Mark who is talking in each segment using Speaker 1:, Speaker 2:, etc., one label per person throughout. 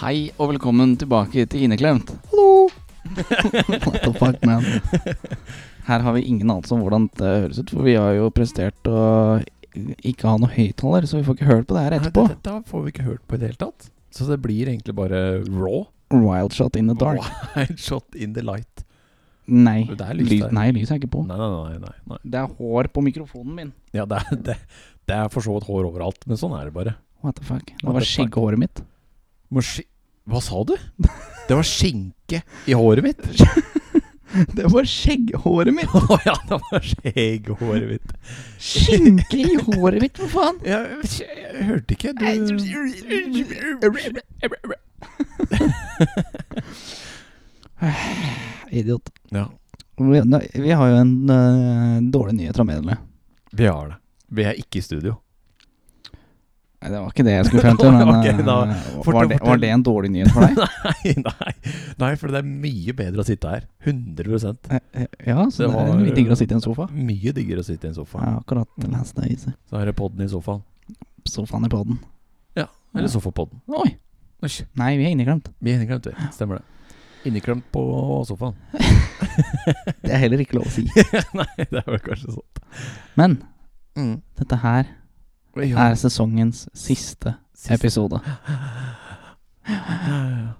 Speaker 1: Hei og velkommen tilbake til Inneklemt.
Speaker 2: Hallo!
Speaker 1: What the fuck, man? Her har vi ingen anelse om hvordan det høres ut, for vi har jo prestert å ikke ha noe høyttaler, så vi får ikke hørt på det her etterpå.
Speaker 2: Nei, dette får vi ikke hørt på i det hele tatt. Så det blir egentlig bare raw.
Speaker 1: Wildshot in the dark.
Speaker 2: Wild shot in the light.
Speaker 1: Nei.
Speaker 2: Det er lys
Speaker 1: Lys,
Speaker 2: der.
Speaker 1: nei, lyset er ikke på.
Speaker 2: Nei, nei, nei. nei, nei.
Speaker 1: Det er hår på mikrofonen min.
Speaker 2: Ja, det er, det, det er for så vidt hår overalt, men sånn er det bare.
Speaker 1: What the fuck.
Speaker 2: What
Speaker 1: Det
Speaker 2: the
Speaker 1: var
Speaker 2: fuck?
Speaker 1: skjeggehåret mitt.
Speaker 2: Må ski- Hva sa du? Det var skinke i håret mitt.
Speaker 1: Det var skjegghåret mitt!
Speaker 2: Å ja, det var skjegg i håret mitt.
Speaker 1: Skinke i håret mitt, for faen!
Speaker 2: Jeg, jeg, jeg hørte ikke. Du
Speaker 1: Idiot.
Speaker 2: Ja,
Speaker 1: Vi, nei, vi har jo en øh, dårlig nyhet fra mediene.
Speaker 2: vi har det. Vi er ikke i studio.
Speaker 1: Nei, det var ikke det jeg skulle frem til. Men,
Speaker 2: Ok,
Speaker 1: eh,
Speaker 2: da,
Speaker 1: var,
Speaker 2: fortell,
Speaker 1: det, var
Speaker 2: fortell.
Speaker 1: det en dårlig nyhet for deg?
Speaker 2: Nei, nei, nei, for det er mye bedre å sitte her. 100
Speaker 1: Eh, eh, ja,
Speaker 2: Det
Speaker 1: så det,
Speaker 2: var-
Speaker 1: er mye diggere å sitte i en sofa.
Speaker 2: Mye diggere å sitte i en
Speaker 1: Jeg
Speaker 2: sofa.
Speaker 1: har akkurat lest det i seg.
Speaker 2: Så her er podden i sofaen.
Speaker 1: sofaen i poden.
Speaker 2: Ja,
Speaker 1: Ja.
Speaker 2: Eller sofapodden.
Speaker 1: Oi!
Speaker 2: Æsj,
Speaker 1: Nei, vi er inneklemt.
Speaker 2: Vi er inneklemt, vi. Stemmer det. Inneklemt på sofaen.
Speaker 1: Det er heller ikke lov å si.
Speaker 2: nei, det er vel kanskje sånn.
Speaker 1: Men dette her
Speaker 2: Ja,
Speaker 1: er sesongens siste
Speaker 2: siste-
Speaker 1: episode.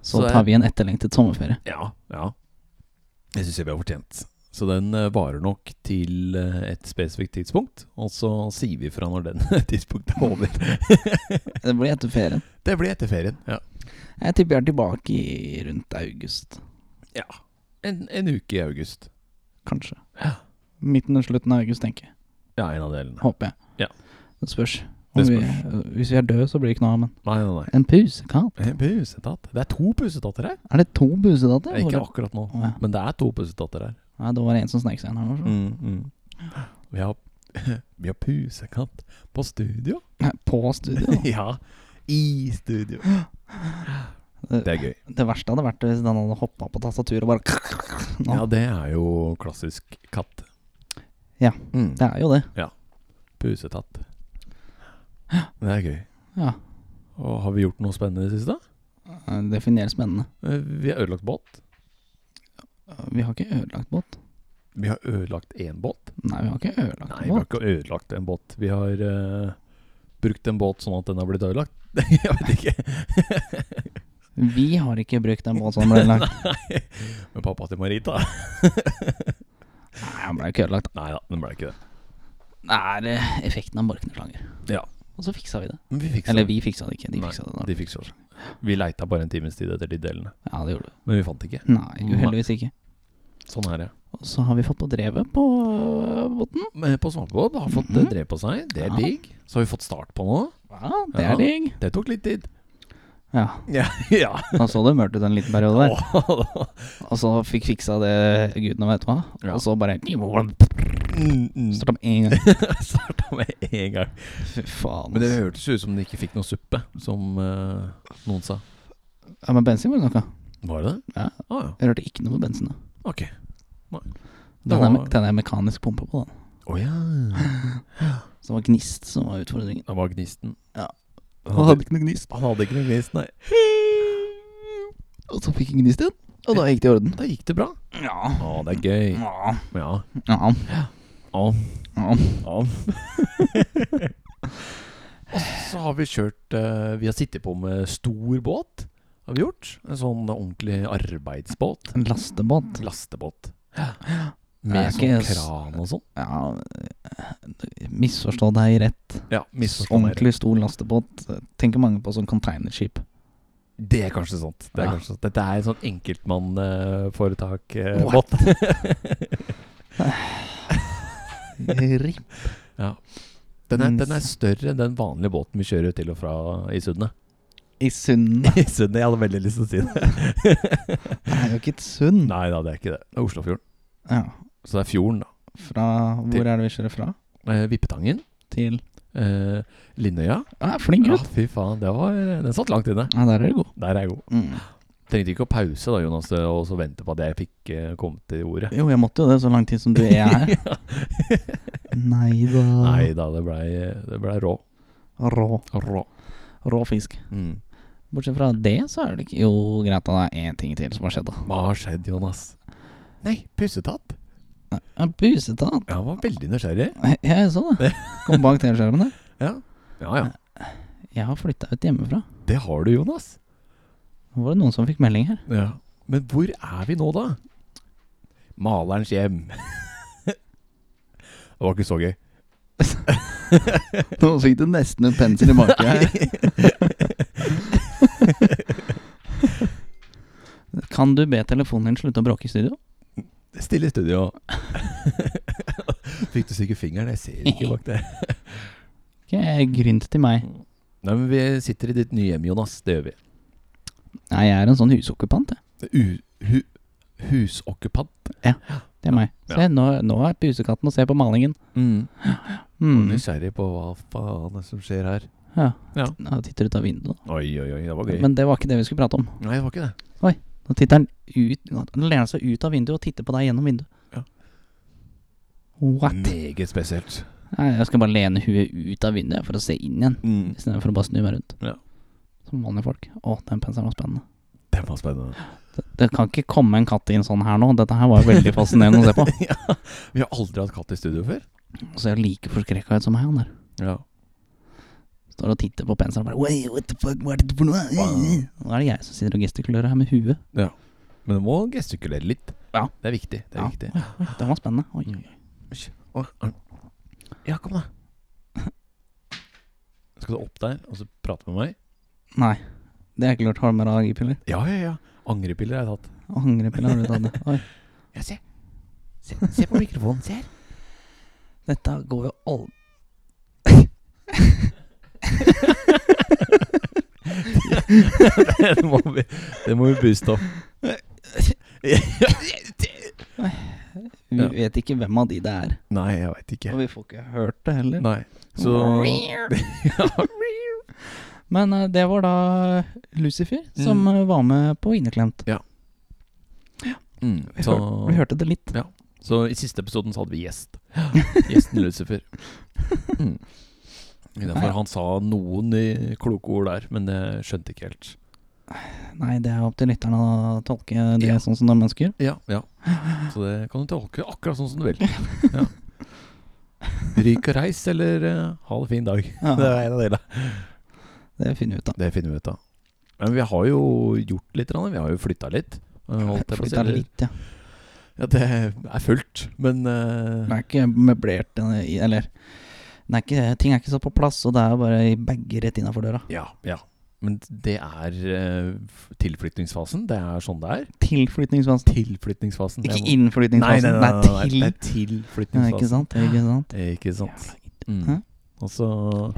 Speaker 1: Så
Speaker 2: Så
Speaker 1: tar
Speaker 2: jeg-
Speaker 1: vi en etterlengtet sommerferie.
Speaker 2: Ja. ja. Det syns jeg vi har fortjent. Så den eh, varer nok til eh, et spesifikt tidspunkt, og så sier vi fra når den tidspunktet er over.
Speaker 1: Det blir etter ferien.
Speaker 2: det blir etter ferien. Ja.
Speaker 1: Jeg tipper jeg er tilbake i rundt august,
Speaker 2: En, en uke i august.
Speaker 1: kanskje.
Speaker 2: Ja.
Speaker 1: Midten og slutten av august, tenker jeg.
Speaker 2: Ja, en av delene.
Speaker 1: Håper jeg.
Speaker 2: Ja.
Speaker 1: Det spørs. Om
Speaker 2: Det
Speaker 1: Vi, hvis vi er døde, så blir det ikke noe av, men
Speaker 2: Nei, nei, nei.
Speaker 1: En pusekatt?
Speaker 2: En pusetatt. Eh, Det er to pusetatter her.
Speaker 1: Er det to busedatter?
Speaker 2: Det er ikke akkurat nå,
Speaker 1: Å, ja.
Speaker 2: men det er to pusetatter her.
Speaker 1: Nei, det var en som snek seg inn her.
Speaker 2: Mm.
Speaker 1: nå, så.
Speaker 2: Vi, har, vi har pusekatt på studio.
Speaker 1: Nei, På studio.
Speaker 2: ja. I studio. Det er gøy.
Speaker 1: Det verste hadde vært hvis den hadde hoppa på tastaturet og bare Nå.
Speaker 2: Ja, det er jo klassisk katt.
Speaker 1: Ja.
Speaker 2: Mm.
Speaker 1: Det er jo det.
Speaker 2: Pusetatt. Det er gøy.
Speaker 1: Ja.
Speaker 2: Og har vi gjort noe spennende i det siste?
Speaker 1: Definer spennende. Eh,
Speaker 2: Eh, Vi har ødelagt båt.
Speaker 1: Vi har ikke ødelagt båt.
Speaker 2: Vi har ødelagt én båt.
Speaker 1: Nei, vi har ikke ødelagt
Speaker 2: Nei, vi har
Speaker 1: båt.
Speaker 2: ikke ødelagt en båt. Vi har eh, brukt en båt sånn at den har blitt ødelagt. Jeg vet ikke.
Speaker 1: Vi har ikke brukt en båt som ble ødelagt.
Speaker 2: Nei. Men pappa til Marita
Speaker 1: Nei, den ble ikke ødelagt.
Speaker 2: Nei da, den ble ikke det.
Speaker 1: Det er eh, effekten av Borkneslanger.
Speaker 2: Ja.
Speaker 1: Og så fiksa vi det.
Speaker 2: Men vi fiksa
Speaker 1: Eller
Speaker 2: det.
Speaker 1: vi fiksa det ikke. De
Speaker 2: Nei,
Speaker 1: fiksa det. da.
Speaker 2: De fiksa det. Vi leita bare en times tid etter de delene,
Speaker 1: Ja, det gjorde vi.
Speaker 2: men vi fant ikke.
Speaker 1: Nei, uheldigvis ikke.
Speaker 2: Sånn er det.
Speaker 1: Og så har vi fått på drevet på eh, båten.
Speaker 2: Men Mm, på Svalbard har fått
Speaker 1: Mhm.
Speaker 2: eh, drev på seg. Det er
Speaker 1: Ja.
Speaker 2: digg. Så har vi fått start på nå.
Speaker 1: Ja, det
Speaker 2: Ja.
Speaker 1: er digg.
Speaker 2: Det tok litt tid.
Speaker 1: Ja.
Speaker 2: Ja. ja.
Speaker 1: Da så det mørkt ut en liten periode der.
Speaker 2: Åh.
Speaker 1: Og så fikk fiksa det gudene vet hva.
Speaker 2: Ja.
Speaker 1: Og så bare
Speaker 2: Mm, mm.
Speaker 1: Starta med en gang.
Speaker 2: Starta med en gang.
Speaker 1: Fy faen.
Speaker 2: Men det
Speaker 1: ass.
Speaker 2: hørtes ut som de ikke fikk noe suppe, som eh, noen sa.
Speaker 1: Ja, men bensin var det noe.
Speaker 2: Var det det?
Speaker 1: Ja.
Speaker 2: Ah, ja.
Speaker 1: Jeg hørte ikke noe på bensin. da.
Speaker 2: Ok.
Speaker 1: Den er,
Speaker 2: var-
Speaker 1: me- den er mekanisk pumpe på, den.
Speaker 2: Å ja.
Speaker 1: Så det var gnist som var utfordringen.
Speaker 2: Det var gnisten.
Speaker 1: Ja.
Speaker 2: Han hadde,
Speaker 1: ikke noe gnist.
Speaker 2: han hadde ikke noe gnist, nei.
Speaker 1: Og så fikk jeg gnist igjen. Og da gikk det i orden.
Speaker 2: Da gikk det bra.
Speaker 1: Ja.
Speaker 2: Å, det er gøy.
Speaker 1: Ja.
Speaker 2: Ja.
Speaker 1: Ja.
Speaker 2: Å.
Speaker 1: ja.
Speaker 2: Og så har vi kjørt eh, Vi har sittet på med stor båt. Har vi gjort. En sånn ordentlig arbeidsbåt.
Speaker 1: En lastebåt.
Speaker 2: Lastebåt.
Speaker 1: Det
Speaker 2: Med
Speaker 1: er
Speaker 2: sånn
Speaker 1: ikke s-
Speaker 2: kran og sånn.
Speaker 1: Ja Misforstå deg rett.
Speaker 2: Ja, misforstå meg rett.
Speaker 1: Ordentlig stor lastebåt. Tenker mange på som containerskip.
Speaker 2: Det er kanskje sant. Det er
Speaker 1: Ja.
Speaker 2: kanskje sant. Dette er en sånn eh,
Speaker 1: What?
Speaker 2: enkeltmannforetak-båt.
Speaker 1: Ripp.
Speaker 2: ja. den, er, den er større enn den vanlige båten vi kjører til og fra i Sundet.
Speaker 1: I sundet.
Speaker 2: I Sundet, jeg hadde veldig lyst til å si det.
Speaker 1: Det er jo ikke et sund.
Speaker 2: Nei da, det er ikke det. Det er Oslofjorden.
Speaker 1: Ja.
Speaker 2: Så det er fjorden, da.
Speaker 1: Fra Hvor
Speaker 2: Til-
Speaker 1: er det vi kjører fra?
Speaker 2: Eh, Vippetangen.
Speaker 1: Til
Speaker 2: Eh, Linnøya.
Speaker 1: Ja, flink
Speaker 2: Ja,
Speaker 1: gutt.
Speaker 2: fy faen. Det var, den satt langt inne.
Speaker 1: Ja, der er du god.
Speaker 2: Der er jeg god.
Speaker 1: Mm.
Speaker 2: Trengte ikke å pause da, Jonas, eh, og så vente på at jeg fikk eh, komme til ordet.
Speaker 1: Jo, jeg måtte jo det så lang tid som du er her. Nei da.
Speaker 2: Nei da, det blei ble rå.
Speaker 1: Rå.
Speaker 2: Rå.
Speaker 1: Rå fisk.
Speaker 2: Mm.
Speaker 1: Bortsett fra det, så er det ikke Jo, greit, da, det er én ting til som har skjedd, da.
Speaker 2: Hva har skjedd, Jonas? Nei, pussetatt.
Speaker 1: Nei, En pusetatt.
Speaker 2: Jeg var veldig nysgjerrig.
Speaker 1: Jeg så det. Kom bak TV-skjermen der.
Speaker 2: Ja. ja ja.
Speaker 1: Jeg har flytta ut hjemmefra.
Speaker 2: Det har du, Jonas.
Speaker 1: Nå var det noen som fikk melding her.
Speaker 2: Ja. Men hvor er vi nå, da? Malerens hjem. det var ikke så gøy.
Speaker 1: Nå fikk du nesten en pensel i baken her. kan du be telefonen din slutte å bråke i studio?
Speaker 2: Stille studio. Fikk du sikkert fingeren? Jeg ser ikke bak det.
Speaker 1: Ikke grynt til meg.
Speaker 2: Nei, men Vi sitter i ditt nye hjem, Jonas. Det gjør vi.
Speaker 1: Nei, jeg er en sånn husokupant, jeg.
Speaker 2: U hu husokkupant.
Speaker 1: Det er meg. Se, nå, nå er pusekatten og ser på malingen.
Speaker 2: Mm.
Speaker 1: Mm.
Speaker 2: Nysgjerrig på hva faen er det som skjer her.
Speaker 1: Ja.
Speaker 2: Ja.
Speaker 1: Nå titter ut av vinduet.
Speaker 2: Oi, oi, oi, det var gøy.
Speaker 1: Men det var ikke det vi skulle prate om.
Speaker 2: Nei, det var ikke det.
Speaker 1: Nå titter han ut Han lener seg ut av vinduet og titter på deg gjennom vinduet.
Speaker 2: Ja.
Speaker 1: What?
Speaker 2: Meget spesielt.
Speaker 1: Nei, jeg skal bare lene huet ut av vinduet for å se inn igjen.
Speaker 2: Mm.
Speaker 1: I stedet for å bare snu meg rundt.
Speaker 2: Ja.
Speaker 1: Som vanlige folk. Å, den penselen var spennende.
Speaker 2: Det var spennende.
Speaker 1: Det, det kan ikke komme en katt inn sånn her nå. Dette her var jo veldig fascinerende å se på.
Speaker 2: ja. Vi har aldri hatt katt i studio før.
Speaker 1: Og ser like forskrekka ut som meg, han der.
Speaker 2: Ja.
Speaker 1: Står og titter på penselen og bare Oi, what the fuck, hva er dette for noe? Nå er det jeg som sitter og gestikulerer her med huet.
Speaker 2: Men du må gestikulere litt.
Speaker 1: Ja.
Speaker 2: Det er viktig. Det er
Speaker 1: Ja.
Speaker 2: viktig.
Speaker 1: Oi, oi, den var spennende. Oi, oi, oi.
Speaker 2: Å, å. Ja, kom da. Skal du opp der og så prate med meg?
Speaker 1: Nei, det er ikke lurt. Har du med deg piller
Speaker 2: Ja, ja, ja. Angrepiller har jeg tatt.
Speaker 1: Angrepiller har du tatt det. Oi.
Speaker 2: Ja, se. Se, se på mikrofonen. Se her.
Speaker 1: Dette går jo aldri
Speaker 2: det, må vi, det må vi booste opp.
Speaker 1: Vi
Speaker 2: Ja.
Speaker 1: vet ikke hvem av de det er.
Speaker 2: Nei, jeg veit ikke.
Speaker 1: Og vi får ikke hørt det heller.
Speaker 2: Nei. Så
Speaker 1: Men eh, det var da Lucifer som
Speaker 2: Mm.
Speaker 1: eh, var med på Inneklemt.
Speaker 2: mm,
Speaker 1: Vi,
Speaker 2: så,
Speaker 1: hør, vi hørte det litt.
Speaker 2: så i siste episoden så hadde vi gjest. Gjesten Lucifer. Mm. Derfor han sa noen eh, kloke ord der, men det skjønte ikke helt.
Speaker 1: Nei, det er opp til lytterne å tolke det
Speaker 2: Ja.
Speaker 1: sånn som de ønsker.
Speaker 2: Ja, ja. Så det kan du tolke akkurat sånn som du vil. Ja. Ryk og reis, eller eh, ha det fin dag.
Speaker 1: Ja.
Speaker 2: Det er en av delene.
Speaker 1: Det finner vi ut av.
Speaker 2: Det finner vi ut av. Men vi har jo gjort litt, grann. vi har jo flytta litt. eh, Holdt jeg på å si.
Speaker 1: Flytta litt, ja.
Speaker 2: Ja, det er fullt, men eh,
Speaker 1: Den er ikke møblert, den er i- eller den er ikke, Ting er ikke så på plass, og det er bare i bager rett innafor døra.
Speaker 2: ja, ja. Men det er eh, f- tilflyttingsfasen. Det er sånn det er.
Speaker 1: Tilflytningsfasen.
Speaker 2: Tilflyttingsfasen. Jeg må-
Speaker 1: Ikke
Speaker 2: Nei, nei,
Speaker 1: innflytningsfasen,
Speaker 2: nei, nei, nei, det
Speaker 1: det er til.
Speaker 2: er tilflyttingsfasen.
Speaker 1: Ja, ikke sant? Ikke sant?
Speaker 2: Ikke sant.
Speaker 1: Hæ?
Speaker 2: Mm. Og så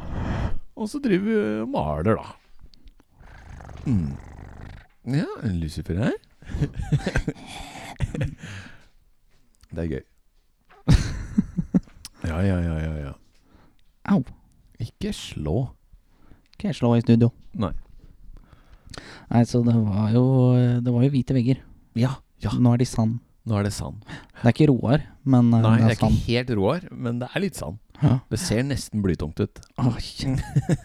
Speaker 2: Og så driver vi og maler, da. Mm. Ja, en Lucifer her. det er gøy. Ja, ja, ja, ja, ja.
Speaker 1: Au.
Speaker 2: Ikke slå.
Speaker 1: Ikke slå i studio.
Speaker 2: Nei.
Speaker 1: Nei, så det var jo Det var jo hvite vegger.
Speaker 2: Ja, ja.
Speaker 1: Nå er de sand.
Speaker 2: Nå er det sand.
Speaker 1: Det er ikke Roar, men eh,
Speaker 2: Nei,
Speaker 1: det
Speaker 2: det
Speaker 1: er
Speaker 2: er ikke
Speaker 1: sand.
Speaker 2: helt Roar, men det er litt sand.
Speaker 1: Ja.
Speaker 2: Det ser nesten blytungt ut.
Speaker 1: Oi.
Speaker 2: Der fikk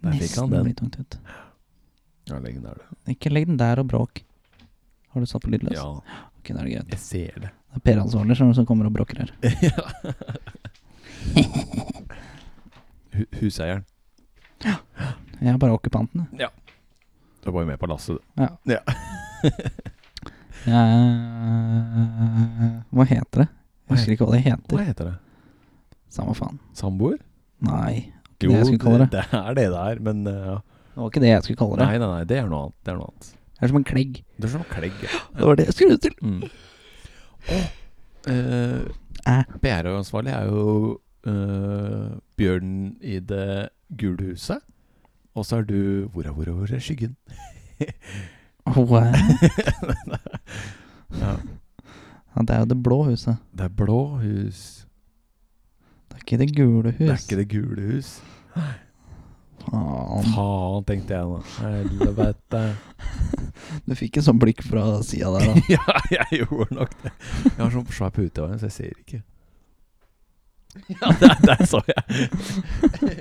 Speaker 2: han
Speaker 1: Nesten
Speaker 2: den.
Speaker 1: blir tungt ut.
Speaker 2: Ja, lenge der, du.
Speaker 1: Ikke legg den der og bråk. Har du satt på lydløs?
Speaker 2: Ja,
Speaker 1: Ok, da er det greit.
Speaker 2: jeg ser det.
Speaker 1: Det er Per Ansvarlig som som kommer og bråker her.
Speaker 2: Hu- Huseieren.
Speaker 1: Jeg er bare okkupanten, jeg.
Speaker 2: Du var jo med på lasset, du.
Speaker 1: Jeg- eh, Hva heter det? Jeg husker ikke hva det heter.
Speaker 2: Hva heter det?
Speaker 1: Samme faen.
Speaker 2: Samboer?
Speaker 1: Nei, det jeg skulle kalle det.
Speaker 2: det er det det er, men eh, ja.
Speaker 1: det var ikke det jeg skulle kalle det.
Speaker 2: Nei, nei, nei, det er noe annet. Det er noe annet.
Speaker 1: Det er som en klegg.
Speaker 2: Det er som klegg. ja.
Speaker 1: Det var det jeg skulle til.
Speaker 2: Mm. Eh,
Speaker 1: Æ.
Speaker 2: PR-ansvarlig er jo eh, bjørnen i det gule huset. Og så er du Hvor er, hvor er, hvor er skyggen?
Speaker 1: Åh,
Speaker 2: Ja,
Speaker 1: Ja, det er jo det blå huset.
Speaker 2: det er blå hus.
Speaker 1: Det er ikke det gule hus.
Speaker 2: Det er ikke det gule hus.
Speaker 1: Faen.
Speaker 2: Faen, tenkte jeg nå. Helvete.
Speaker 1: Du fikk et sånt blikk fra sida der, da.
Speaker 2: ja, jeg gjorde nok det. Jeg har sånn svær pute over den, så jeg ser ikke. Ja, der, der så jeg.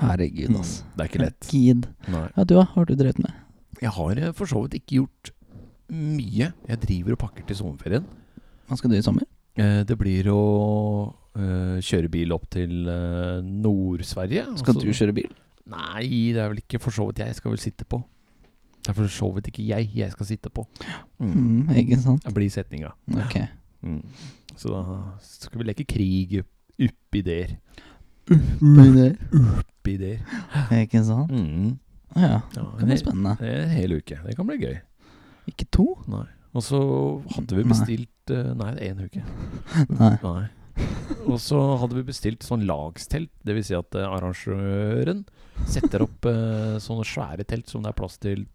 Speaker 1: Herregud, altså.
Speaker 2: Det er ikke lett.
Speaker 1: Gid.
Speaker 2: Nei.
Speaker 1: Ja, du, da? Hva har du drevet med?
Speaker 2: Jeg har eh, for så vidt ikke gjort mye. Jeg driver og pakker til sommerferien.
Speaker 1: Hva skal du i sommer?
Speaker 2: Eh, Det blir å eh, kjøre bil opp til eh, Nord-Sverige. og
Speaker 1: Skal
Speaker 2: så-
Speaker 1: du kjøre bil?
Speaker 2: Nei, det er vel ikke for så vidt jeg skal vel sitte på. Det er for så vidt ikke jeg jeg skal sitte på. Mm.
Speaker 1: Mm, ikke sant?
Speaker 2: Det blir setninga.
Speaker 1: Ok.
Speaker 2: Mm. Så da skal vi leke krig oppi der.
Speaker 1: Men det-
Speaker 2: Oppi der.
Speaker 1: Ikke sant?
Speaker 2: Mm.
Speaker 1: Ja,
Speaker 2: Ja,
Speaker 1: det kan bli spennende.
Speaker 2: Det er en hel uke. Det kan bli gøy.
Speaker 1: Ikke to?
Speaker 2: Nei. Og så hadde vi
Speaker 1: Nei.
Speaker 2: bestilt eh, Nei, det er én uke.
Speaker 1: Nei.
Speaker 2: Nei. Og så hadde vi bestilt sånn lagstelt. Det vil si at eh, arrangøren setter opp eh, sånne svære telt som det er plass til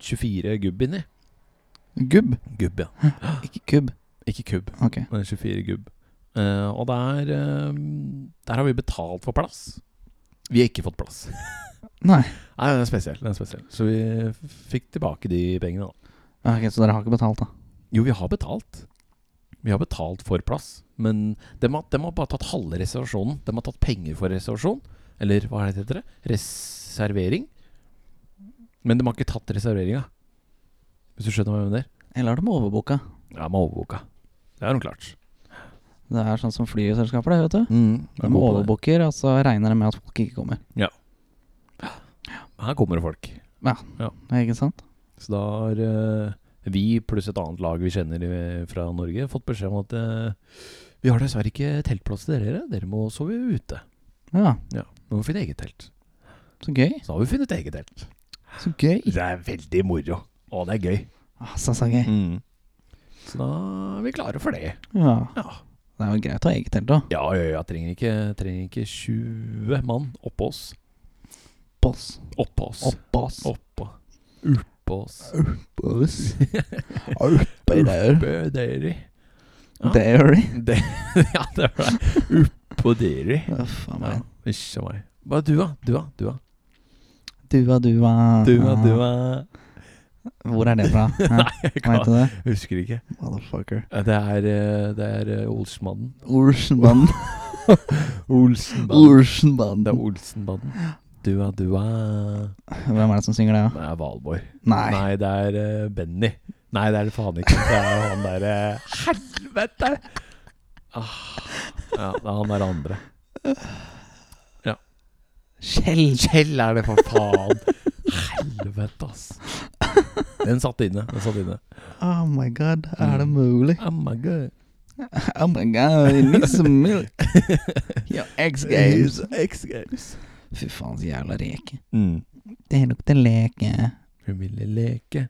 Speaker 2: 12-24 gubb inni.
Speaker 1: Gubb?
Speaker 2: Gubb, ja.
Speaker 1: Ikke kubb.
Speaker 2: Ikke kubb,
Speaker 1: Ok.
Speaker 2: men 24 gubb. Eh, og der, eh, der har vi betalt for plass. Vi har ikke fått plass.
Speaker 1: Nei.
Speaker 2: Nei, den er spesiell. Den er spesiell. Så vi f- fikk tilbake de pengene, da.
Speaker 1: Ok, Så dere har ikke betalt, da?
Speaker 2: Jo, vi har betalt. Vi har betalt for plass, men de har, dem har bare tatt halve reservasjonen. De har tatt penger for reservasjon, eller hva er det heter det? Reservering. Men de har ikke tatt reserveringa, hvis du skjønner hva jeg mener.
Speaker 1: Eller har de overbooka?
Speaker 2: Ja, de har overboka. Det har de klart.
Speaker 1: Det er sånn som flyselskaper, det,
Speaker 2: God
Speaker 1: vet du. De
Speaker 2: på Mm, det.
Speaker 1: overbooker, og så regner de med at folk ikke kommer.
Speaker 2: Her kommer det folk.
Speaker 1: Ikke sant?
Speaker 2: Så da har eh, vi pluss et annet lag vi kjenner i- fra Norge fått beskjed om at eh, vi har dessverre ikke teltplass til dere, dere må sove ute.
Speaker 1: Ja,
Speaker 2: Dere må finne eget telt.
Speaker 1: så gøy.
Speaker 2: Så har vi funnet eget telt.
Speaker 1: Så gøy.
Speaker 2: Det er veldig moro. Å, det er gøy.
Speaker 1: Altså, så gøy.
Speaker 2: Mm. Så da er vi klare for det.
Speaker 1: Ja.
Speaker 2: Ja,
Speaker 1: Det er jo greit å ha eget telt, da.
Speaker 2: ja, ja, ja trenger, ikke, trenger ikke 20 mann oppå oss.
Speaker 1: Boss.
Speaker 2: Oppå oss.
Speaker 1: Oppås.
Speaker 2: Oppå. Oppå oss.
Speaker 1: Oppås. Oppi der.
Speaker 2: Oppå dere. Ja.
Speaker 1: Dairy.
Speaker 2: Det, ja, det var det. Oppå dere.
Speaker 1: Uff a meg.
Speaker 2: Ikke meg. Bare du, da. Du, da. Du, da.
Speaker 1: Dua, dua. Ah. Hvor er det fra? Hæ?
Speaker 2: Nei, jeg
Speaker 1: Hva
Speaker 2: kan,
Speaker 1: heter det?
Speaker 2: husker ikke.
Speaker 1: Motherfucker.
Speaker 2: Det er, eh, det er eh, Olsenbanden.
Speaker 1: Olsenbanden.
Speaker 2: Olsenbanden. Det er
Speaker 1: Olsenbanden.
Speaker 2: Olsenbanden. Dua, dua.
Speaker 1: Hvem er det som synger det? da?
Speaker 2: Det er Valborg.
Speaker 1: Nei.
Speaker 2: Nei, det er eh, Benny. Nei, det er det faen ikke. Det er han derre Helvete! Ah, ja, det er han der andre.
Speaker 1: Kjell.
Speaker 2: Kjell er det, for faen! Helvete, ass. Den satt inne. Den satt inne.
Speaker 1: Oh my god, er det
Speaker 2: Mm.
Speaker 1: mulig?
Speaker 2: Oh my god.
Speaker 1: Oh my god, I need some milk. Yo, X Games.
Speaker 2: X Games.
Speaker 1: Fy faen, så jævla reke.
Speaker 2: Mm.
Speaker 1: Det lukter leke.
Speaker 2: Hun ville leke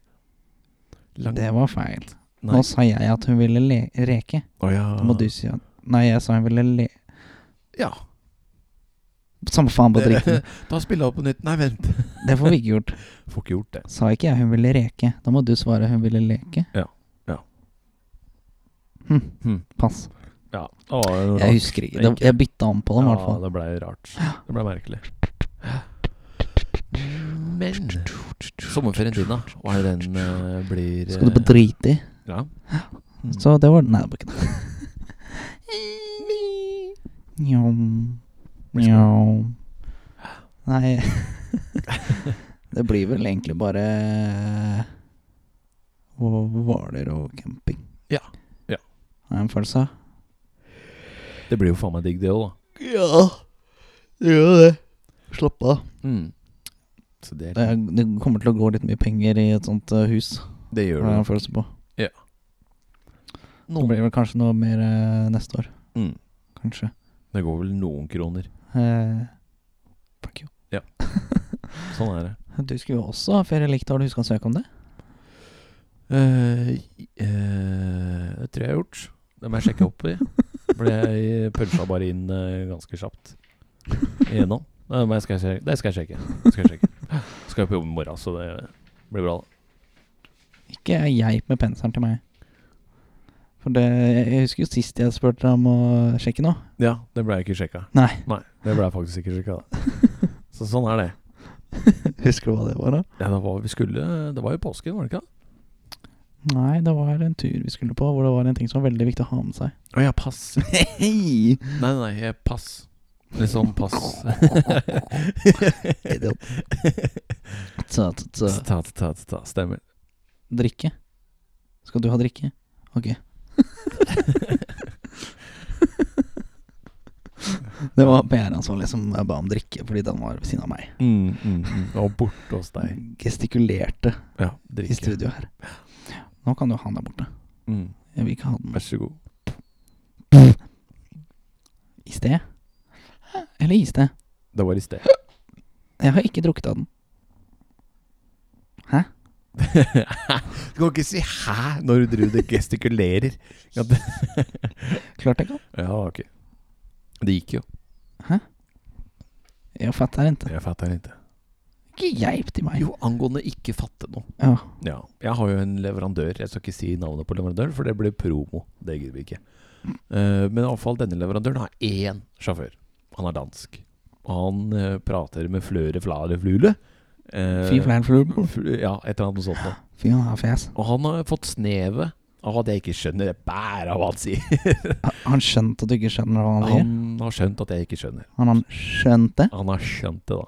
Speaker 2: Lang...
Speaker 1: Det var feil.
Speaker 2: Nei. Ah.
Speaker 1: Nå sa jeg at hun ville le reke.
Speaker 2: Å ja.
Speaker 1: Da må du si at Nei, jeg sa hun ville le...
Speaker 2: Ja.
Speaker 1: Samme faen på dritten.
Speaker 2: Da spiller jeg på nytt. Nei, vent.
Speaker 1: Det får vi ikke gjort.
Speaker 2: Får ikke gjort det.
Speaker 1: Sa ikke jeg hun ville reke? Da må du svare hun ville leke.
Speaker 2: Ja, ja.
Speaker 1: Hm,
Speaker 2: Hm.
Speaker 1: pass.
Speaker 2: Ja. Å, det var
Speaker 1: Jeg husker ikke. Det, jeg bytta om på dem, i hvert
Speaker 2: Ja,
Speaker 1: fall.
Speaker 2: det blei rart. Det blei merkelig. Men sommerferien din, da? Hva er det den eh, blir
Speaker 1: Skal du på
Speaker 2: eh,
Speaker 1: drit i?
Speaker 2: Ja. Mm.
Speaker 1: Så det var Nei, det var ikke det. Njom. Njom. Nei Det blir vel egentlig bare eh, Og Hvaler og camping.
Speaker 2: Ja, ja.
Speaker 1: Har jeg en følelse av.
Speaker 2: Det blir jo faen meg digg, det òg, da.
Speaker 1: Ja, det gjør det. Slapp av.
Speaker 2: Mm. Så det,
Speaker 1: Det, er, det kommer til å gå litt mye penger i et sånt eh, hus,
Speaker 2: det gjør
Speaker 1: har jeg en
Speaker 2: du.
Speaker 1: følelse på. Det
Speaker 2: Noen,
Speaker 1: blir vel kanskje noe mer eh, neste år.
Speaker 2: mm.
Speaker 1: Kanskje.
Speaker 2: Det går vel noen kroner.
Speaker 1: Eh, fuck you.
Speaker 2: Sånn er det.
Speaker 1: Du skulle jo også ha ferie likt, har du huska å søke om det?
Speaker 2: Eh, eh, det tror jeg jeg har gjort. Det må jeg sjekke opp i. For jeg puncha bare inn eh, ganske kjapt. Igjennom. Nei, men jeg skal sjekke. Det skal jeg sjekke. Det skal jeg sjekke. Skal på jobb i morgen, så det blir bra. da.
Speaker 1: Ikke jeg med penselen til meg. For det, jeg husker jo sist jeg spurte deg om å sjekke noe.
Speaker 2: Ja, det ble jeg ikke sjekka.
Speaker 1: Nei.
Speaker 2: Det ble jeg faktisk ikke sjekka, da. Så sånn er det.
Speaker 1: Husker du hva det var, da?
Speaker 2: Ja, det var, vi skulle, det var jo påsken, var det ikke? det?
Speaker 1: Nei, det var en tur vi skulle på hvor det var en ting som var veldig viktig å ha med seg.
Speaker 2: Å ja, pass. Nei,
Speaker 1: Hei!
Speaker 2: nei, nei, eh, pass. Litt sånn pass.
Speaker 1: Idiot. Så, så, så.
Speaker 2: Ta, ta, ta, stemmer.
Speaker 1: Drikke. Skal du ha drikke? Ok. det var PR-ansvarlig som liksom ba om drikke fordi den var ved siden av meg.
Speaker 2: Mm, mm, mm. Og borte hos deg.
Speaker 1: Gestikulerte
Speaker 2: Ja,
Speaker 1: i
Speaker 2: drikke.
Speaker 1: studio her. Nå kan du ha den der borte.
Speaker 2: Mm.
Speaker 1: Jeg vil ikke ha den
Speaker 2: Vær så god.
Speaker 1: i sted. Eller i sted.
Speaker 2: Det var i sted.
Speaker 1: Jeg har ikke drukket av den. Hæ?
Speaker 2: Du kan ikke si 'hæ' når du driver og gestikulerer. Ja, det,
Speaker 1: Klart jeg kan.
Speaker 2: ja, ok. Det gikk jo.
Speaker 1: Jeg fatter ikke.
Speaker 2: Jeg fatter ikke.
Speaker 1: Ikke geip til meg.
Speaker 2: Jo, angående ikke fatte noe.
Speaker 1: Ja.
Speaker 2: Ja. Jeg har jo en leverandør. Jeg skal ikke si navnet på leverandøren, for det blir promo. Det gidder vi ikke. Eh, men iallfall denne leverandøren har én sjåfør. Han er dansk. Og han eh, prater med fløre flare flule. Eh,
Speaker 1: Fy flæl flul.
Speaker 2: fl- Ja, et eller annet sånt. Da.
Speaker 1: Fy han har fjes.
Speaker 2: Og han har fått snevet av at jeg ikke skjønner et bær av hva han sier.
Speaker 1: Har Han skjønt at du ikke skjønner hva han sier?
Speaker 2: Han har skjønt at jeg ikke skjønner.
Speaker 1: Har han skjønt det?
Speaker 2: Han har skjønt det, da.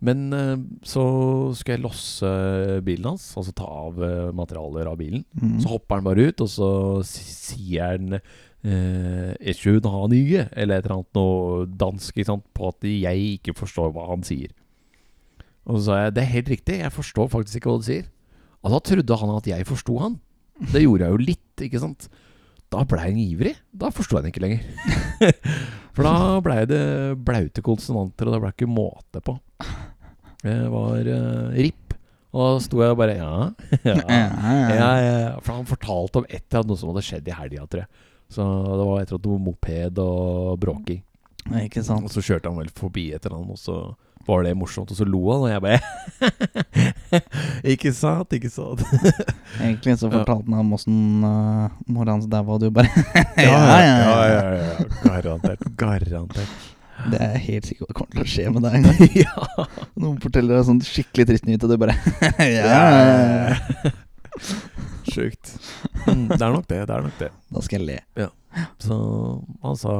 Speaker 2: Men eh, så skal jeg losse bilen hans, altså ta av eh, materialer av bilen.
Speaker 1: Mm.
Speaker 2: Så hopper han bare ut, og så si- sier han eh, ikke hun har nye, eller et eller annet noe dansk, ikke sant, på at jeg ikke forstår hva han sier. Og så sa jeg det er helt riktig, jeg forstår faktisk ikke hva du sier. Og da trodde han at jeg forsto han. Det gjorde jeg jo litt, ikke sant. Da ble han ivrig. Da forsto jeg han ikke lenger. For da blei det blaute konsonanter, og det blei ikke måte på. Det var eh, ripp. Og da sto jeg og bare ja, ja. Ja, ja, for han fortalte om et eller annet noe som hadde skjedd i helga, tror jeg. Så det var et eller annet med moped og bråking.
Speaker 1: ja. Ikke
Speaker 2: Og
Speaker 1: sant?
Speaker 2: så kjørte han vel forbi et eller annet, og så var det morsomt. Og så lo han, og jeg bare Ikke sant, ikke sant.
Speaker 1: Egentlig så
Speaker 2: Ja.
Speaker 1: fortalte han om åssen uh, mora hans daua, og du bare
Speaker 2: ja, ja. Garantert. Garantert.
Speaker 1: Det er jeg helt sikkert kommer til å skje med deg en gang.
Speaker 2: ja.
Speaker 1: Noen forteller deg sånn skikkelig trist nyhet, og du bare ja, ja, ja.
Speaker 2: Sjukt. Mm, det er nok det. Det er nok det.
Speaker 1: Da skal jeg le.
Speaker 2: Så han sa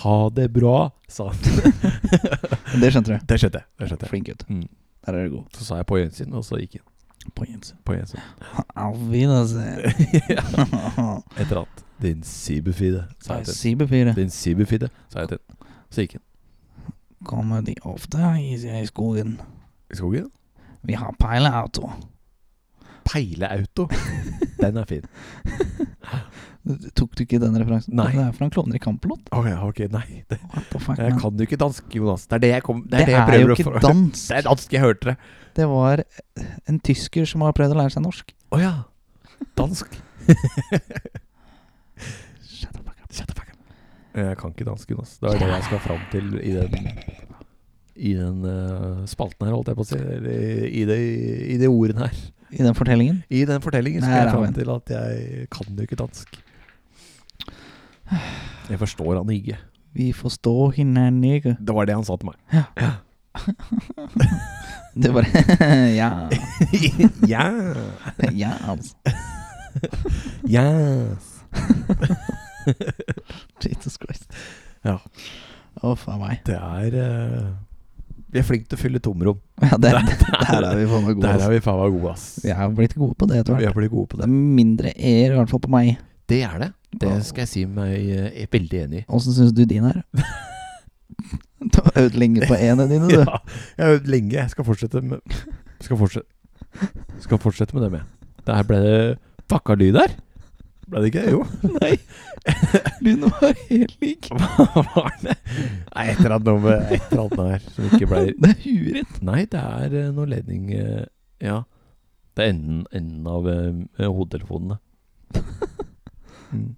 Speaker 2: ha det bra, sa han.
Speaker 1: Det
Speaker 2: Det skjønte
Speaker 1: skjønte du.
Speaker 2: jeg. Det skjønte jeg.
Speaker 1: Flink gutt.
Speaker 2: Mm.
Speaker 1: Der er du god.
Speaker 2: Så sa jeg på gjensyn, og så gikk han.
Speaker 1: På Jens.
Speaker 2: På gjensyn.
Speaker 1: Auf Wiedersehen.
Speaker 2: Et eller annet. Din sibefide, sa jeg til
Speaker 1: Cyberfire.
Speaker 2: Din sibefide, sa jeg til Så gikk han.
Speaker 1: Kommer de ofte i, i skogen?
Speaker 2: I skogen?
Speaker 1: Vi har peileauto.
Speaker 2: Peileauto. Den er fin.
Speaker 1: Tok du ikke den referansen?
Speaker 2: Nei.
Speaker 1: Det er fra en klovner i kamplåt.
Speaker 2: Ok, ok, nei. Det,
Speaker 1: What the fuck,
Speaker 2: jeg
Speaker 1: man?
Speaker 2: kan jo ikke dansk, Jonas. Det er det jeg kom Det
Speaker 1: Det
Speaker 2: er det, jeg
Speaker 1: er
Speaker 2: prøver å
Speaker 1: jo ikke
Speaker 2: få-
Speaker 1: dans.
Speaker 2: Det er dansk, jeg hørte det.
Speaker 1: Det var en tysker som har prøvd å lære seg norsk.
Speaker 2: Å ja. Dansk.
Speaker 1: Shut the fuck up.
Speaker 2: Shut the fuck up. Jeg kan ikke dansk, Jonas. Det er det jeg skal fram til i den i den eh, spalten her, holdt jeg på å si. Eller i, i, det, i de ordene her.
Speaker 1: I den fortellingen.
Speaker 2: I den fortellingen skal
Speaker 1: Nei,
Speaker 2: jeg
Speaker 1: da,
Speaker 2: fram
Speaker 1: vent.
Speaker 2: til at jeg kan jo ikke dansk. Jeg forstår han ikke.
Speaker 1: Vi forstår hinnen ikke.
Speaker 2: Det var det han sa til meg.
Speaker 1: Det var Ja.
Speaker 2: ja.
Speaker 1: Ja, altså.
Speaker 2: Yes.
Speaker 1: Jesus Christ.
Speaker 2: Ja.
Speaker 1: Å, faen meg.
Speaker 2: Det er eh, Vi er flinke til å fylle tomrom.
Speaker 1: Ja, det, der er vi faen meg gode.
Speaker 2: Der
Speaker 1: altså.
Speaker 2: er vi faen meg gode, ass.
Speaker 1: Vi er blitt gode på det etter
Speaker 2: Vi
Speaker 1: hvert.
Speaker 2: er blitt gode på
Speaker 1: Det
Speaker 2: det.
Speaker 1: er mindre er, i hvert fall på meg.
Speaker 2: Det er det. Det skal jeg si meg eh, veldig enig i.
Speaker 1: Åssen syns du din er? Du har øvd lenge på en av dine, du.
Speaker 2: Ja, jeg har øvd lenge. Jeg skal fortsette med Skal fortsette Skal fortsette med dem, jeg. Det her ble det fucka lyd her. Ble det ikke? Jo. Nei.
Speaker 1: Lyden var helt lik.
Speaker 2: Hva var det? Nei, et eller annet noe med et eller annet her som ikke ble
Speaker 1: Det er huet ditt.
Speaker 2: Nei, det er eh, noe ledning eh, Ja. Det er enden, enden av eh, hodetelefonene. Mm.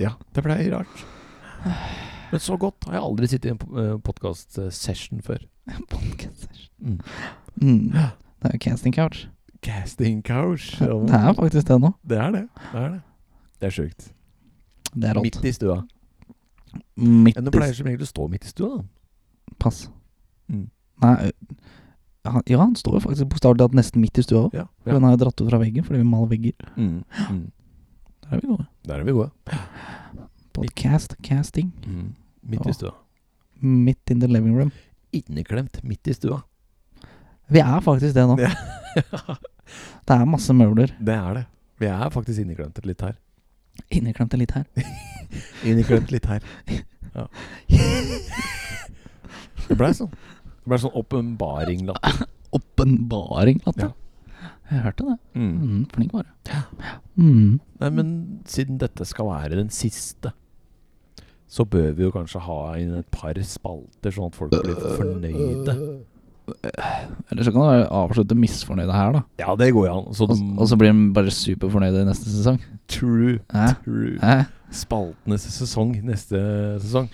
Speaker 2: Ja, det ble rart. Men så godt har jeg aldri sittet i en podkast-session før. Mm.
Speaker 1: Mm. Det er jo casting couch.
Speaker 2: Casting couch.
Speaker 1: Det er faktisk det nå.
Speaker 2: Det er det. Det er, det. Det er sjukt.
Speaker 1: Det er rått.
Speaker 2: Midt i stua.
Speaker 1: Midt
Speaker 2: Men det
Speaker 1: i
Speaker 2: pleier som regel å stå midt i stua, da.
Speaker 1: Pass.
Speaker 2: Mm.
Speaker 1: Nei, ø- han, ja, han står jo faktisk bokstavelig talt nesten midt i stua òg.
Speaker 2: Ja.
Speaker 1: Den har jo dratt ut fra veggen fordi vi maler vegger.
Speaker 2: Mm. Mm.
Speaker 1: Der er vi gode.
Speaker 2: Der er vi gode.
Speaker 1: Podcast, casting.
Speaker 2: Mm. Midt
Speaker 1: Ja.
Speaker 2: i stua.
Speaker 1: Midt in the living room.
Speaker 2: Inneklemt midt i stua.
Speaker 1: Vi er faktisk det nå.
Speaker 2: Ja.
Speaker 1: Det er masse møbler.
Speaker 2: Det er det. Vi er faktisk inneklemte litt her.
Speaker 1: Inneklemte litt her.
Speaker 2: Inneklemt litt her. Ja. Det blei sånn. Det blei sånn åpenbaring-latter.
Speaker 1: Åpenbaring, Latte. Jeg hørte det.
Speaker 2: Mm.
Speaker 1: Mm, flink var du. Mm.
Speaker 2: Nei, men siden dette skal være den siste, så bør vi jo kanskje ha inn et par spalter, sånn at folk blir fornøyde.
Speaker 1: Eller så kan du avslutte misfornøyde her, da.
Speaker 2: Ja, det går jo an. Så
Speaker 1: Og, og
Speaker 2: altså-
Speaker 1: så blir de bare superfornøyde i neste sesong.
Speaker 2: true,
Speaker 1: Hæ?
Speaker 2: true.
Speaker 1: Hæ?
Speaker 2: Spaltenes sesong neste sesong.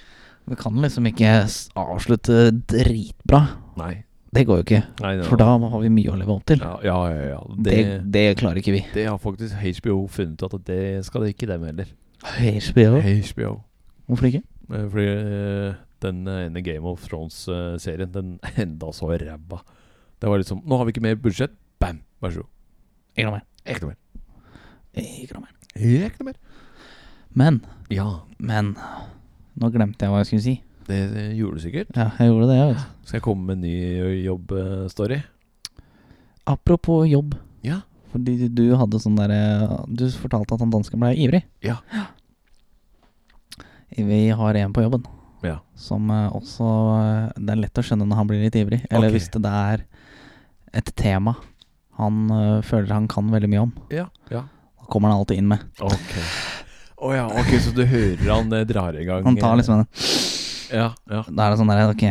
Speaker 1: Vi kan liksom ikke s- avslutte dritbra.
Speaker 2: Nei.
Speaker 1: Det går jo ikke.
Speaker 2: Nei
Speaker 1: For da har vi mye å leve opp til.
Speaker 2: Ja, ja, ja. ja.
Speaker 1: Det,
Speaker 2: Det,
Speaker 1: det klarer ikke vi.
Speaker 2: det har faktisk HBO funnet ut at det skal det ikke dem heller.
Speaker 1: HBO.
Speaker 2: HBO.
Speaker 1: Hvorfor ikke?
Speaker 2: Eh, Fordi eh, den eh, ene Game of Thrones-serien, den enda så ræva. Det var liksom Nå har vi ikke mer budsjett. Bam! Vær så god.
Speaker 1: Ikke noe mer.
Speaker 2: Ikke noe mer.
Speaker 1: Ikke noe mer.
Speaker 2: Ikke noe mer.
Speaker 1: Men,
Speaker 2: Ja,
Speaker 1: men Nå glemte jeg hva jeg skulle si.
Speaker 2: det eh, gjorde du sikkert.
Speaker 1: Ja, jeg gjorde det, jeg. Vet.
Speaker 2: Skal jeg komme med en ny eh, jobbstory?
Speaker 1: du. Apropos jobb.
Speaker 2: Ja.
Speaker 1: Fordi du hadde sånn derre Du fortalte at han dansken ble ivrig.
Speaker 2: Ja.
Speaker 1: Vi har en på jobben
Speaker 2: Ja.
Speaker 1: som eh, også eh, Det er lett å skjønne når han blir litt ivrig. Eller
Speaker 2: Ok.
Speaker 1: hvis det er et tema han eh, føler han kan veldig mye om.
Speaker 2: Ja. ja.
Speaker 1: Da kommer han alltid inn med.
Speaker 2: Ok. Å ja, ok, så du hører han eh, drar i gang
Speaker 1: Han
Speaker 2: eh,
Speaker 1: tar liksom den.
Speaker 2: Ja, ja.
Speaker 1: Da er det sånn derre Ok,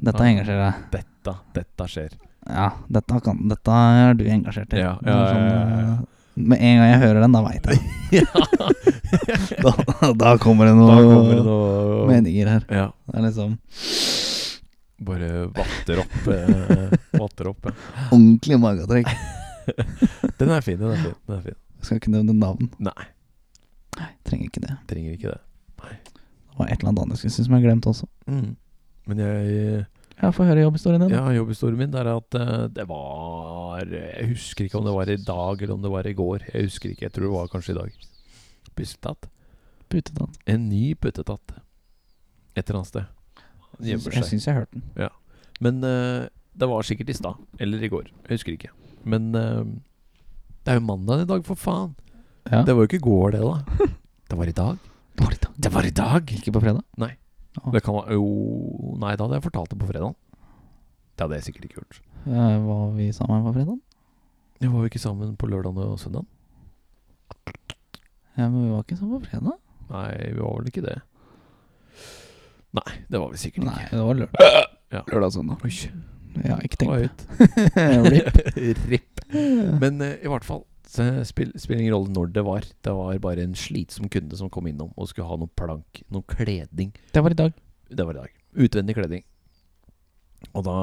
Speaker 1: dette
Speaker 2: Ja.
Speaker 1: engasjerer deg.
Speaker 2: Dette, dette skjer.
Speaker 1: Ja, dette, kan, dette er du engasjert i.
Speaker 2: Ja,
Speaker 1: Det er
Speaker 2: ja,
Speaker 1: sånn,
Speaker 2: ja, ja, ja.
Speaker 1: eh, Med en gang jeg hører den, da veit jeg.
Speaker 2: da
Speaker 1: Da, da kommer
Speaker 2: kommer
Speaker 1: det
Speaker 2: det
Speaker 1: noen
Speaker 2: noe
Speaker 1: meninger her.
Speaker 2: Ja.
Speaker 1: Det er liksom
Speaker 2: Bare vatter opp. Eh, vatter opp ja.
Speaker 1: ordentlig magetrekk.
Speaker 2: Den er fin, den er fin. Den er fin.
Speaker 1: Jeg skal ikke nevne navn.
Speaker 2: Nei.
Speaker 1: Nei, trenger ikke det.
Speaker 2: Trenger ikke det.
Speaker 1: Det var et eller annet annet jeg skulle si som jeg glemte også.
Speaker 2: Mm. Men jeg,
Speaker 1: Ja, Få høre jobbhistorien din. da.
Speaker 2: ja, jobbhistorien min der er at eh, det var Jeg husker ikke om det var i dag eller om det var i går. Jeg husker ikke, jeg tror det var kanskje i dag. Puttetatt.
Speaker 1: Putetatt.
Speaker 2: En ny puttetatt. Et eller annet sted. Han
Speaker 1: Jeg
Speaker 2: gjemmer seg.
Speaker 1: syns jeg hørte den.
Speaker 2: Men eh, det var sikkert i stad. Eller i går. Jeg husker ikke. Men eh, det er jo mandag i dag, for faen.
Speaker 1: Ja.
Speaker 2: Det var jo ikke i går, det, da. Det var i dag.
Speaker 1: Dårlig dag.
Speaker 2: Det var i dag!
Speaker 1: Ikke på fredag? Ja.
Speaker 2: Det kan være Jo, nei, da hadde jeg fortalt det på fredag. Det hadde jeg sikkert ikke gjort.
Speaker 1: Eh, var vi sammen på fredag?
Speaker 2: Ja, var vi ikke sammen på lørdag og søndag?
Speaker 1: Ja, men vi var ikke sammen på fredag.
Speaker 2: Nei, vi var vel ikke det. Nei, det var vi sikkert
Speaker 1: Nei,
Speaker 2: ikke.
Speaker 1: det var lørdag.
Speaker 2: Ja.
Speaker 1: Lørdag og søndag.
Speaker 2: Oi,
Speaker 1: Jeg har ikke
Speaker 2: det var
Speaker 1: tenkt
Speaker 2: høyt.
Speaker 1: det.
Speaker 2: Ripp. Men eh, i hvert fall, så spill, spiller ingen rolle når det var. Det var bare en slitsom kunde som kom innom og skulle ha noe plank, noe kledning.
Speaker 1: det var i dag.
Speaker 2: Det var i dag. Utvendig kledning. Og da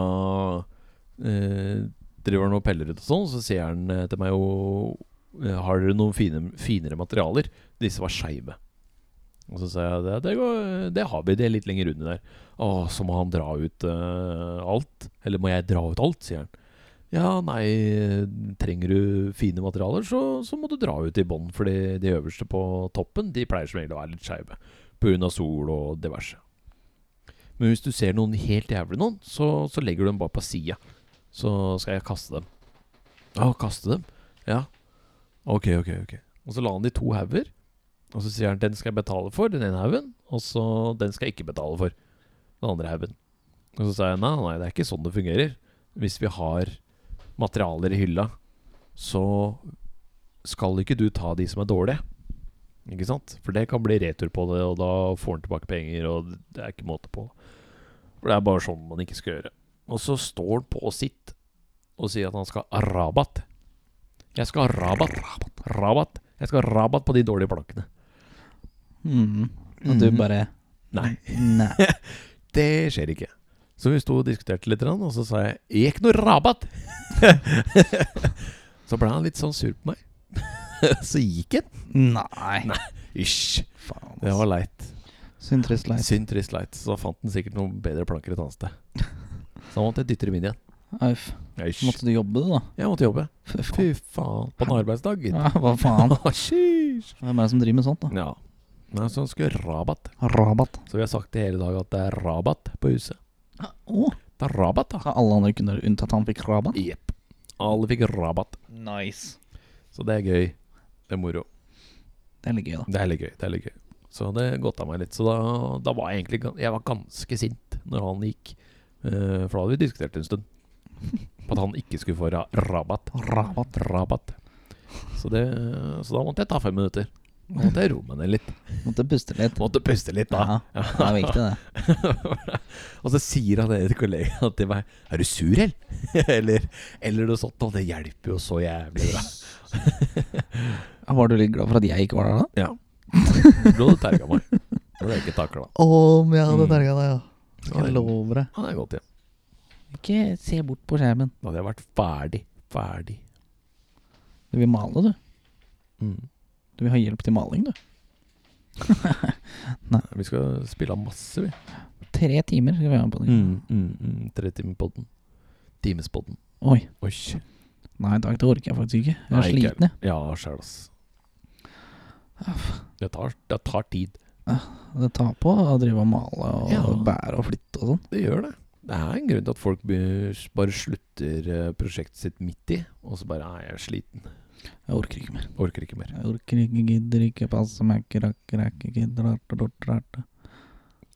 Speaker 2: eh, driver han og peller ut og sånn, så sier han eh, til meg jo eh, Har dere noen fine, finere materialer? Disse var skeive. Og så sa jeg det, det, går, det har vi, det er litt lenger under der. Å, så må han dra ut eh, alt? Eller må jeg dra ut alt, sier han. Ja, nei, trenger du fine materialer, så, så må du dra ut i bånn. Fordi de øverste på toppen, de pleier som regel å være litt skeive. Pga. sol og diverse. Men hvis du ser noen helt jævlig noen, så, så legger du dem bare på sida. Så skal jeg kaste dem. Å, kaste dem? Ja. Ok, ok, ok. Og så la han de to hauger. Og så sier han den skal jeg betale for, den ene haugen. Og så den skal jeg ikke betale for, den andre haugen. Og så sa jeg nei, nei, det er ikke sånn det fungerer. Hvis vi har materialer i hylla, så skal ikke du ta de som er dårlige. Ikke sant? For det kan bli retur på det, og da får han tilbake penger, og det er ikke måte på. For det er bare sånn man ikke skal gjøre. Og så står han på sitt og sier at han skal ha rabatt. Jeg skal ha rabatt. Rabatt. Jeg skal ha rabatt på de dårlige plankene.
Speaker 1: Mm. Og du
Speaker 2: Mhm.
Speaker 1: bare
Speaker 2: Nei,
Speaker 1: Nei.
Speaker 2: det skjer ikke. Så vi sto og diskuterte litt, og så sa jeg 'Ikke noe rabatt'! så ble han litt sånn sur på meg. så gikk han.
Speaker 1: Nei.
Speaker 2: Nei. Hysj.
Speaker 1: Faen,
Speaker 2: Det var leit.
Speaker 1: Synd, trist, leit.
Speaker 2: Synd, trist, leit. Så fant han sikkert noen bedre planker et annet sted. Så da måtte jeg dytte dem inn igjen.
Speaker 1: Uff.
Speaker 2: Hysj.
Speaker 1: Måtte du jobbe, du, da?
Speaker 2: Jeg måtte jobbe.
Speaker 1: Fy faen.
Speaker 2: Fy faen. På en arbeidsdag, gitt.
Speaker 1: Ja, hva faen?
Speaker 2: Sheesh.
Speaker 1: Hvem er det som driver med sånt, da?
Speaker 2: Ja. Nei, så han skulle ha rabatt.
Speaker 1: Rabatt.
Speaker 2: Så vi har sagt i hele dag at det er rabatt på huset.
Speaker 1: Å,
Speaker 2: Det er rabatt, da.
Speaker 1: Så alle andre kunder unntatt han fikk rabatt?
Speaker 2: Jepp. Alle fikk rabatt.
Speaker 1: Nice.
Speaker 2: Så det er gøy. Det er moro.
Speaker 1: Det er litt gøy, da.
Speaker 2: Det er litt gøy. det er litt gøy Så det godta meg litt. Så da, da var jeg egentlig gan- Jeg var ganske sint når han gikk. Eh, for da hadde vi diskutert en stund. På at han ikke skulle få ra rabatt.
Speaker 1: Rabatt.
Speaker 2: Rabatt. Så, det, så da måtte jeg ta fem minutter. Da måtte jeg roe meg ned litt.
Speaker 1: Måtte puste litt.
Speaker 2: Måtte puste litt, da.
Speaker 1: Ja, det er viktig, det.
Speaker 2: og så sier han ene kollegaen til meg Er du sur, eller? eller, eller noe sånt. Og det hjelper jo så jævlig bra.
Speaker 1: Var du litt glad for at jeg ikke var der, da?
Speaker 2: Ja. Du hadde terga meg. Det hadde jeg ikke takla.
Speaker 1: Om jeg
Speaker 2: hadde terga
Speaker 1: deg, ja.
Speaker 2: Skal jeg love
Speaker 1: deg.
Speaker 2: Ja, det er godt, ja.
Speaker 1: Ikke se bort på skjermen.
Speaker 2: Da hadde jeg vært ferdig. Ferdig.
Speaker 1: Du vil male, du.
Speaker 2: Mm.
Speaker 1: Du vil ha hjelp til maling, du.
Speaker 2: Vi skal spille av masse, vi.
Speaker 1: Tre timer skal vi være med på
Speaker 2: Mm.
Speaker 1: det.
Speaker 2: Tre timer på den. Timespodden.
Speaker 1: Oi.
Speaker 2: Oi.
Speaker 1: Nei takk, det orker jeg faktisk ikke. Jeg
Speaker 2: Nei,
Speaker 1: er
Speaker 2: ikke jeg.
Speaker 1: sliten, jeg.
Speaker 2: Ja, sjæl, ass. Det tar, det tar tid.
Speaker 1: Det tar på å drive og male og
Speaker 2: Ja.
Speaker 1: bære og flytte og sånn.
Speaker 2: Det gjør det. Det er en grunn til at folk be- bare slutter eh, prosjektet sitt midt i, og så bare Nei, jeg er sliten.
Speaker 1: Jeg orker ikke mer.
Speaker 2: Orker ikke mer.
Speaker 1: Jeg orker ikke, gidder ikke, passe meg ikke, rakker, rakker, gidder, rarte, dort, rarte.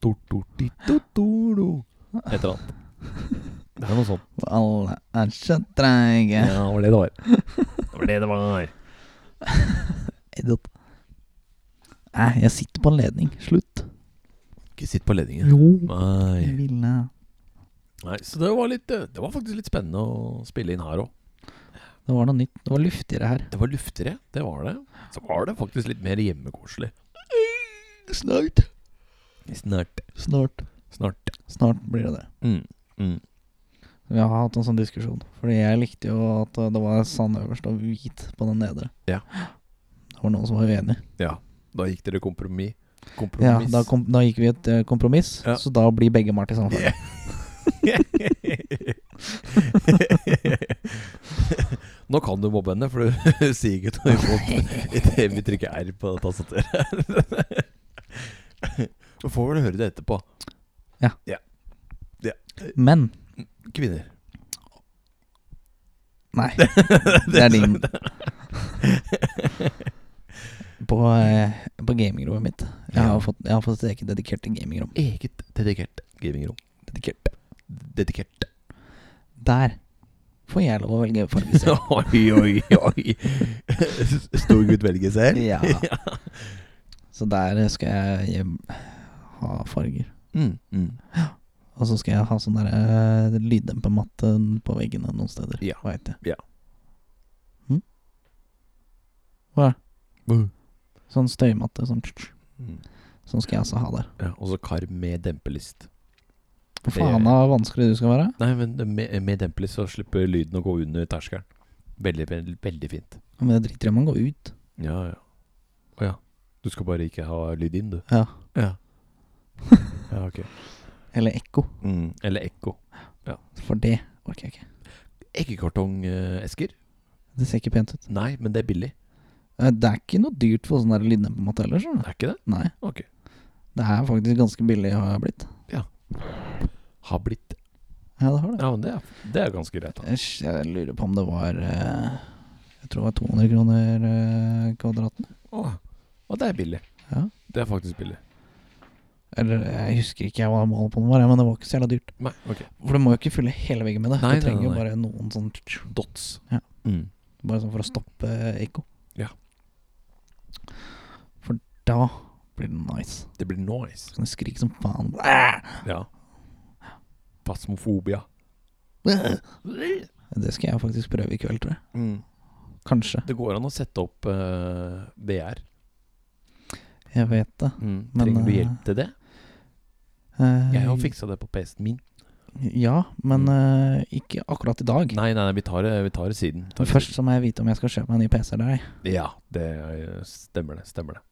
Speaker 2: Tor, tor, ti, to, to, do. Et eller annet. Det er noe sånt.
Speaker 1: For Alle er så treige.
Speaker 2: Ja, det var det det var. Det var det det var.
Speaker 1: Idiot. Nei, jeg sitter på en ledning. Slutt.
Speaker 2: Ikke sitt på ledningen.
Speaker 1: Jo.
Speaker 2: Nei.
Speaker 1: Jeg ville
Speaker 2: Nei, så det var, litt, eh, det var faktisk litt spennende å spille inn her òg.
Speaker 1: Det var noe nytt. Det var luftigere her.
Speaker 2: Det var luftigere, det var det. Så var det faktisk litt mer hjemmekoselig.
Speaker 1: Snart.
Speaker 2: Snart.
Speaker 1: Snart.
Speaker 2: Snart.
Speaker 1: Snart blir det det.
Speaker 2: Mm. Mm.
Speaker 1: Vi har hatt en sånn diskusjon. Fordi jeg likte jo at det var sand øverst og hvit på den nedre.
Speaker 2: Ja.
Speaker 1: Det var noen som var uenig.
Speaker 2: Ja, da gikk dere kompromiss.
Speaker 1: Ja,
Speaker 2: Kompromiss.
Speaker 1: da, kom, da gikk vi et eh, kompromiss,
Speaker 2: Ja.
Speaker 1: så da blir begge malt i samme farge.
Speaker 2: Ja. Nå kan du mobbe henne, for du sier ikke noe imot idet vi trykker R på tastaturet. Du får vel høre det etterpå.
Speaker 1: Ja.
Speaker 2: ja.
Speaker 1: Men
Speaker 2: Kvinner.
Speaker 1: nei, det er din. På, eh, på gamingrommet mitt. Jeg har
Speaker 2: Ja.
Speaker 1: fått, jeg har fått et eget dedikert gamingrom.
Speaker 2: Eget dedikert gamingrom.
Speaker 1: Dedikert.
Speaker 2: Dedikert.
Speaker 1: Der får jeg lov å velge farge.
Speaker 2: Oi, oi, oi. Stor gutt velger selv.
Speaker 1: Ja. Så der skal jeg hjem, ha farger.
Speaker 2: Mm, mm.
Speaker 1: Og så skal jeg ha sånn der eh, lyddempematte på veggene noen steder.
Speaker 2: Ja.
Speaker 1: Vet jeg.
Speaker 2: Ja.
Speaker 1: Hm? Hva er det?
Speaker 2: Mm.
Speaker 1: Sånn støymatte. Sånn, tsk, tsk. sånn skal jeg altså ha der.
Speaker 2: Ja, og så kar med dempelist.
Speaker 1: Hva faen av vanskelig du skal være?
Speaker 2: Nei, men med, med dempelist så slipper lyden å gå under terskelen. Veldig, veldig, veldig fint.
Speaker 1: Ja, Men det driter jeg i om man går ut.
Speaker 2: Ja, ja. Å ja. Du skal bare ikke ha lyd inn, du.
Speaker 1: Ja.
Speaker 2: Ja. ja ok.
Speaker 1: Eller ekko.
Speaker 2: Mm. Eller ekko.
Speaker 1: For det orker jeg ikke.
Speaker 2: Eggekartongesker?
Speaker 1: Det ser ikke pent ut.
Speaker 2: Nei, men det er billig.
Speaker 1: Eh, Det er ikke noe dyrt for sånn der lyddempematte heller.
Speaker 2: Det
Speaker 1: skjønner du.
Speaker 2: er ikke det?
Speaker 1: Nei.
Speaker 2: Ok.
Speaker 1: Det er faktisk ganske billig har jeg blitt.
Speaker 2: Har blitt.
Speaker 1: Ja, det har det.
Speaker 2: Ja, men det er, det er ganske greit. da.
Speaker 1: Æsj, Jeg lurer på om det var eh, Jeg tror det var 200 kroner eh, kvadraten.
Speaker 2: Åh. Og det er billig.
Speaker 1: Ja.
Speaker 2: Det er faktisk billig.
Speaker 1: Eller jeg husker ikke hva målet på den var, ja, men det var ikke så jævla dyrt.
Speaker 2: Nei, ok.
Speaker 1: For du må jo ikke fylle hele veggen med det.
Speaker 2: Nei, nei,
Speaker 1: du trenger jo
Speaker 2: nei.
Speaker 1: bare noen sånn
Speaker 2: Dots.
Speaker 1: Ja.
Speaker 2: Mm.
Speaker 1: Bare sånn for å stoppe ekko.
Speaker 2: Ja.
Speaker 1: For da blir det nice.
Speaker 2: Det blir noise.
Speaker 1: Så kan du skrike som faen. Æ!
Speaker 2: Ja. Pasmofobia.
Speaker 1: Det skal jeg faktisk prøve i kveld, tror jeg.
Speaker 2: Mm.
Speaker 1: Kanskje.
Speaker 2: Det går an å sette opp eh, VR.
Speaker 1: Jeg vet det. Men,
Speaker 2: Mm. Trenger du
Speaker 1: eh,
Speaker 2: hjelp til det?
Speaker 1: Eh,
Speaker 2: Jeg har fiksa det på PC-en min.
Speaker 1: Ja, men eh, ikke akkurat i dag.
Speaker 2: Mm. Nei, nei, nei vi tar det, vi tar det siden. Vi tar
Speaker 1: Men
Speaker 2: det
Speaker 1: Først så må jeg vite om jeg skal kjøpe meg en ny PC eller ei.
Speaker 2: siden. Ja, det eh, stemmer det. Stemmer det.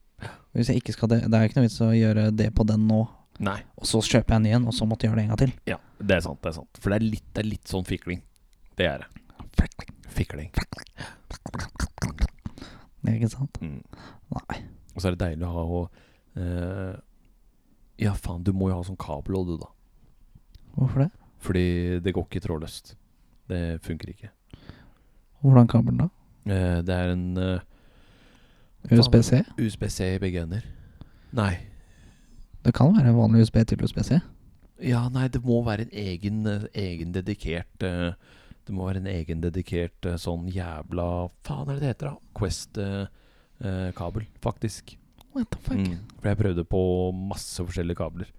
Speaker 1: Hvis jeg ikke skal det, det er jo ikke noe vits å gjøre det på den nå,
Speaker 2: Nei.
Speaker 1: og så kjøper jeg en ny en, og så måtte jeg gjøre det en gang til.
Speaker 2: Ja, det er sant. Det er sant. For det er litt, det er litt sånn fikling. Det er det. Fikling.
Speaker 1: Ikke sant?
Speaker 2: Mm.
Speaker 1: Nei.
Speaker 2: Og så er det deilig å ha å Eh, ja, faen, du må jo ha sånn kabelåd, du, da.
Speaker 1: Hvorfor det?
Speaker 2: Fordi det går ikke trådløst. Det funker ikke.
Speaker 1: Hvordan kabelen da?
Speaker 2: Eh, det er en eh,
Speaker 1: USB-C?
Speaker 2: USBC i begge ender. Nei.
Speaker 1: Det kan være en vanlig USB til USB-C.
Speaker 2: Ja, nei, det må være en egen, eh, egen dedikert eh, Det må være en egen dedikert eh, sånn jævla Faen er det det heter, da? Quest-kabel, faktisk.
Speaker 1: What the fuck?
Speaker 2: Mm. For jeg prøvde på masse forskjellige kabler.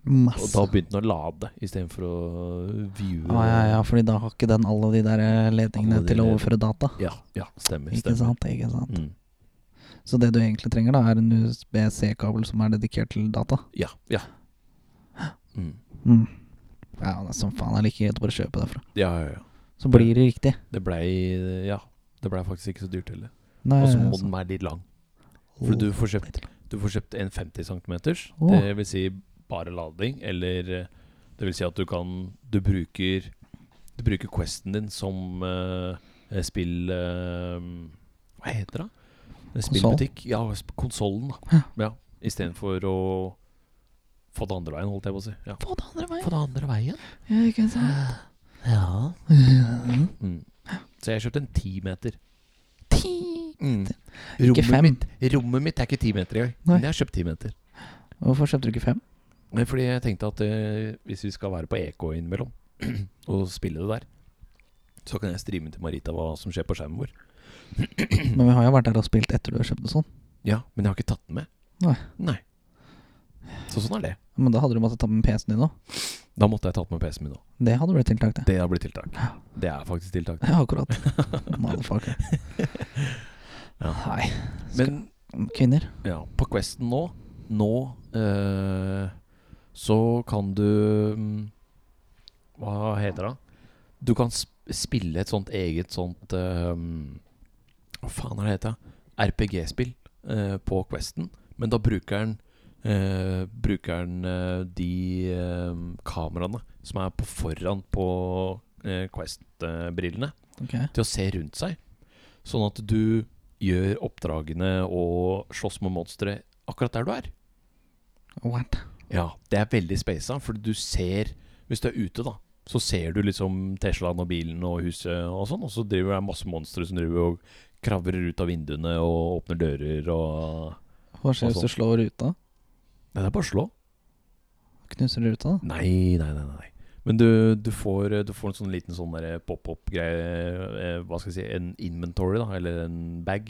Speaker 2: Og
Speaker 1: Masse.
Speaker 2: da begynte den å lade istedenfor å viewe.
Speaker 1: Å ja, ja, fordi da har ikke den alle de der eh, ledningene
Speaker 2: Alle de
Speaker 1: til å
Speaker 2: led-
Speaker 1: overføre data.
Speaker 2: ja, ja, stemmer.
Speaker 1: Ikke
Speaker 2: stemmer.
Speaker 1: sant, ikke sant.
Speaker 2: Mm.
Speaker 1: Så det du egentlig trenger, da, er en USB-C-kabel som er dedikert til data?
Speaker 2: Ja. Ja. Mm.
Speaker 1: Mm. Ja, men som faen, det er like greit å bare kjøpe derfra.
Speaker 2: ja, ja, ja.
Speaker 1: Så blir det riktig.
Speaker 2: Det blei Ja, det blei faktisk ikke så dyrt heller.
Speaker 1: Nei,
Speaker 2: Og så må
Speaker 1: altså.
Speaker 2: den være litt lang. For du får kjøpt, du får kjøpt en 50 cm.
Speaker 1: Oh. Åh.
Speaker 2: Det vil si bare lading, eller eh, det vil si at du kan Du bruker Du bruker Questen din som eh, eh, spill eh, Hva heter det? Eh, Spillbutikk? Ja, sp- konsollen, da. Ja. Istedenfor å få det andre veien, holdt jeg på å si. Ja.
Speaker 1: Få det andre veien.
Speaker 2: Få det andre veien?
Speaker 1: Ja, ikke sant.
Speaker 2: Ja.
Speaker 1: Ja.
Speaker 2: Mm. Så jeg kjøpte en 10 meter.
Speaker 1: Ti.
Speaker 2: Mm.
Speaker 1: Ikke
Speaker 2: Rommet,
Speaker 1: fem.
Speaker 2: mitt, rommet mitt er ikke 10 meter engang.
Speaker 1: Nei.
Speaker 2: Men jeg har kjøpt 10 meter.
Speaker 1: Hvorfor kjøpte du ikke fem?
Speaker 2: Nei, fordi jeg tenkte at eh, hvis vi skal være på EK innimellom og spille det der, så kan jeg streame til Marita hva som skjer på skjermen vår.
Speaker 1: Men vi har jo vært der og spilt etter du har kjøpt det sånn.
Speaker 2: Ja, men jeg har ikke tatt den med.
Speaker 1: Nei.
Speaker 2: Så sånn er det.
Speaker 1: Men da hadde du måttet ta med PC-en din òg.
Speaker 2: Da måtte jeg tatt med PC-en min òg.
Speaker 1: Det hadde blitt tiltak, det.
Speaker 2: Det har blitt tiltak. Det er faktisk tiltak.
Speaker 1: Ja, akkurat. Motherfucker.
Speaker 2: Ja.
Speaker 1: Nei.
Speaker 2: Men
Speaker 1: Kvinner.
Speaker 2: ja, på Questen nå Nå eh, så kan du mm, Hva heter det? Du kan sp spille et sånt eget sånt eh, Hva faen er det heter? RPG-spill eh, på Questen. Men da bruker den eh, Bruker den eh, de eh, kameraene som er på foran på eh, Quest-brillene
Speaker 1: Ok.
Speaker 2: til å se rundt seg. Sånn at du gjør oppdragene og slåss med monstre akkurat der du er.
Speaker 1: What?
Speaker 2: Ja, Det er veldig spasa, for du ser Hvis du er ute, da, så ser du liksom Teslaen og bilen og huset og sånn, og så driver det masse monstre som driver og kravrer ut av vinduene og åpner dører og
Speaker 1: Hva skjer
Speaker 2: Altså.
Speaker 1: hvis du slår ruta?
Speaker 2: Nei, det er bare å slå.
Speaker 1: Knuser ruta, da?
Speaker 2: Nei, nei, nei. nei. Men du, du, får, du får en sånn liten sånn der pop-opp-greie eh, Hva skal jeg si En inventory, da, eller en bag,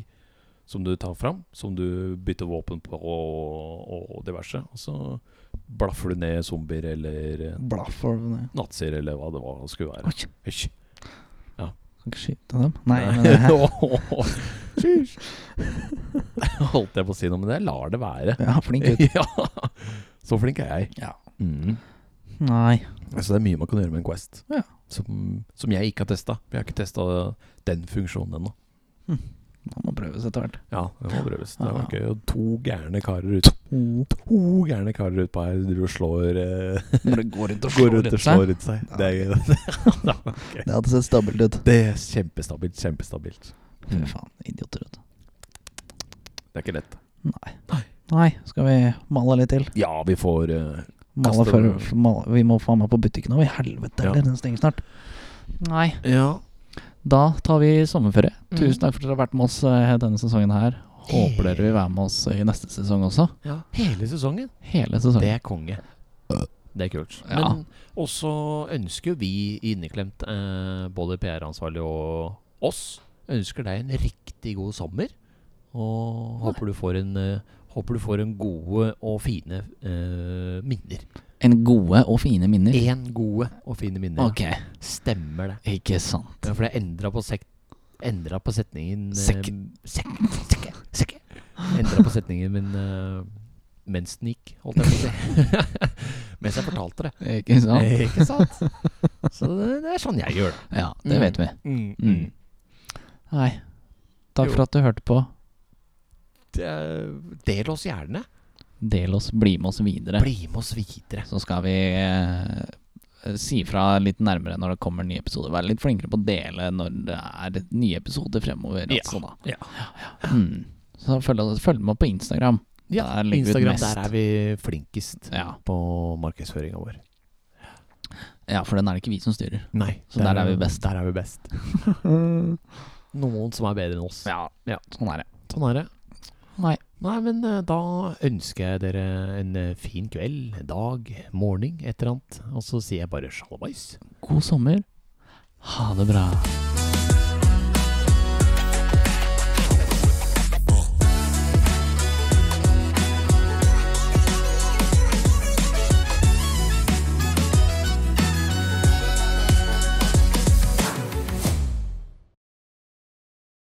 Speaker 2: som du tar fram. Som du bytter våpen på og, og diverse. Og så blaffer du ned zombier eller eh,
Speaker 1: Blaff over det.
Speaker 2: nazier eller hva det var det skulle være.
Speaker 1: Oi,
Speaker 2: Hysj.
Speaker 1: kan ikke skyte dem. Nei, men det her
Speaker 2: Holdt jeg på å si noe, men jeg lar det være.
Speaker 1: Ja, flink gutt.
Speaker 2: ja. Så flink er jeg.
Speaker 1: Ja.
Speaker 2: Mm.
Speaker 1: Nei.
Speaker 2: Altså Det er mye man kan gjøre med en Quest.
Speaker 1: Ja.
Speaker 2: Som, som jeg ikke har testa. Vi har ikke testa den funksjonen ennå.
Speaker 1: Man må prøves etter hvert.
Speaker 2: Ja, det må prøves. Det var
Speaker 1: Ja.
Speaker 2: gøy. Og to gærne karer ut To gærne karer utpå her driver og slår eh,
Speaker 1: Når det går rundt og
Speaker 2: Går
Speaker 1: slår
Speaker 2: rundt
Speaker 1: rundt
Speaker 2: og
Speaker 1: seg.
Speaker 2: slår ut seg.
Speaker 1: Ja.
Speaker 2: Det er gøy. Ja, ok.
Speaker 1: Det hadde sett stabilt ut.
Speaker 2: Det er kjempestabilt. Kjempestabilt.
Speaker 1: Fy faen, idioter, vet du.
Speaker 2: Det er ikke lett.
Speaker 1: Nei, skal vi male litt til?
Speaker 2: Ja, vi får eh,
Speaker 1: Male
Speaker 2: Kaste-
Speaker 1: før, for male. Vi må faen meg på butikken nå, i helvete.
Speaker 2: Ja.
Speaker 1: eller Den stenger snart. Nei.
Speaker 2: Ja.
Speaker 1: Da tar vi sommerferie.
Speaker 2: Mm.
Speaker 1: Tusen takk for at dere har vært med oss eh, denne sesongen her. Håper dere vil være med oss i neste sesong også.
Speaker 2: Hele sesongen.
Speaker 1: Hele
Speaker 2: Det
Speaker 1: sesongen.
Speaker 2: er konge. Det er kult.
Speaker 1: Ja.
Speaker 2: Men også ønsker vi i inneklemt, eh, både PR-ansvarlig og oss, ønsker deg en riktig god sommer. Og håper du får en eh, Håper du får en gode og fine eh, minner.
Speaker 1: En gode og fine minner.
Speaker 2: Én gode og fine minner. ja.
Speaker 1: Ok,
Speaker 2: Stemmer det.
Speaker 1: ikke sant.
Speaker 2: Ja, for det er endra på, sek endra på setningen eh,
Speaker 1: Sekk.
Speaker 2: Sekk. Sekk. Sekk. Endra på setningen min eh, mens den gikk, holdt jeg på å si. mens jeg fortalte det.
Speaker 1: Ikke sant?
Speaker 2: Eh, Ikke sant? Så det, det er sånn jeg gjør det.
Speaker 1: Ja, det
Speaker 2: Mm.
Speaker 1: vet vi.
Speaker 2: Mm.
Speaker 1: Mm. Nei. Takk
Speaker 2: Jo.
Speaker 1: for at du hørte på.
Speaker 2: Det- Del oss gjerne.
Speaker 1: Del oss, bli med oss videre.
Speaker 2: Bli med oss videre.
Speaker 1: Så skal vi eh, si fra litt nærmere når det kommer nye episoder. Være litt flinkere på å dele når det er nye episoder fremover.
Speaker 2: Ja,
Speaker 1: Altså, da.
Speaker 2: ja.
Speaker 1: Mm. Så følg, oss- følg med på Instagram.
Speaker 2: Ja,
Speaker 1: Der ligger vi
Speaker 2: Instagram.
Speaker 1: mest.
Speaker 2: Der er vi flinkest
Speaker 1: Ja.
Speaker 2: på markedsføringa vår.
Speaker 1: ja, for den er det ikke vi som styrer.
Speaker 2: Nei,
Speaker 1: Så der er vi best.
Speaker 2: Der er vi best. Noen som er bedre enn oss.
Speaker 1: Ja,
Speaker 2: Ja.
Speaker 1: sånn er det.
Speaker 2: Sånn er det.
Speaker 1: Nei.
Speaker 2: Nei, men eh, da ønsker jeg dere en eh, fin kveld, dag, morgen, et eller annet. Og så sier jeg bare sjalabais.
Speaker 1: God sommer. Ha det bra.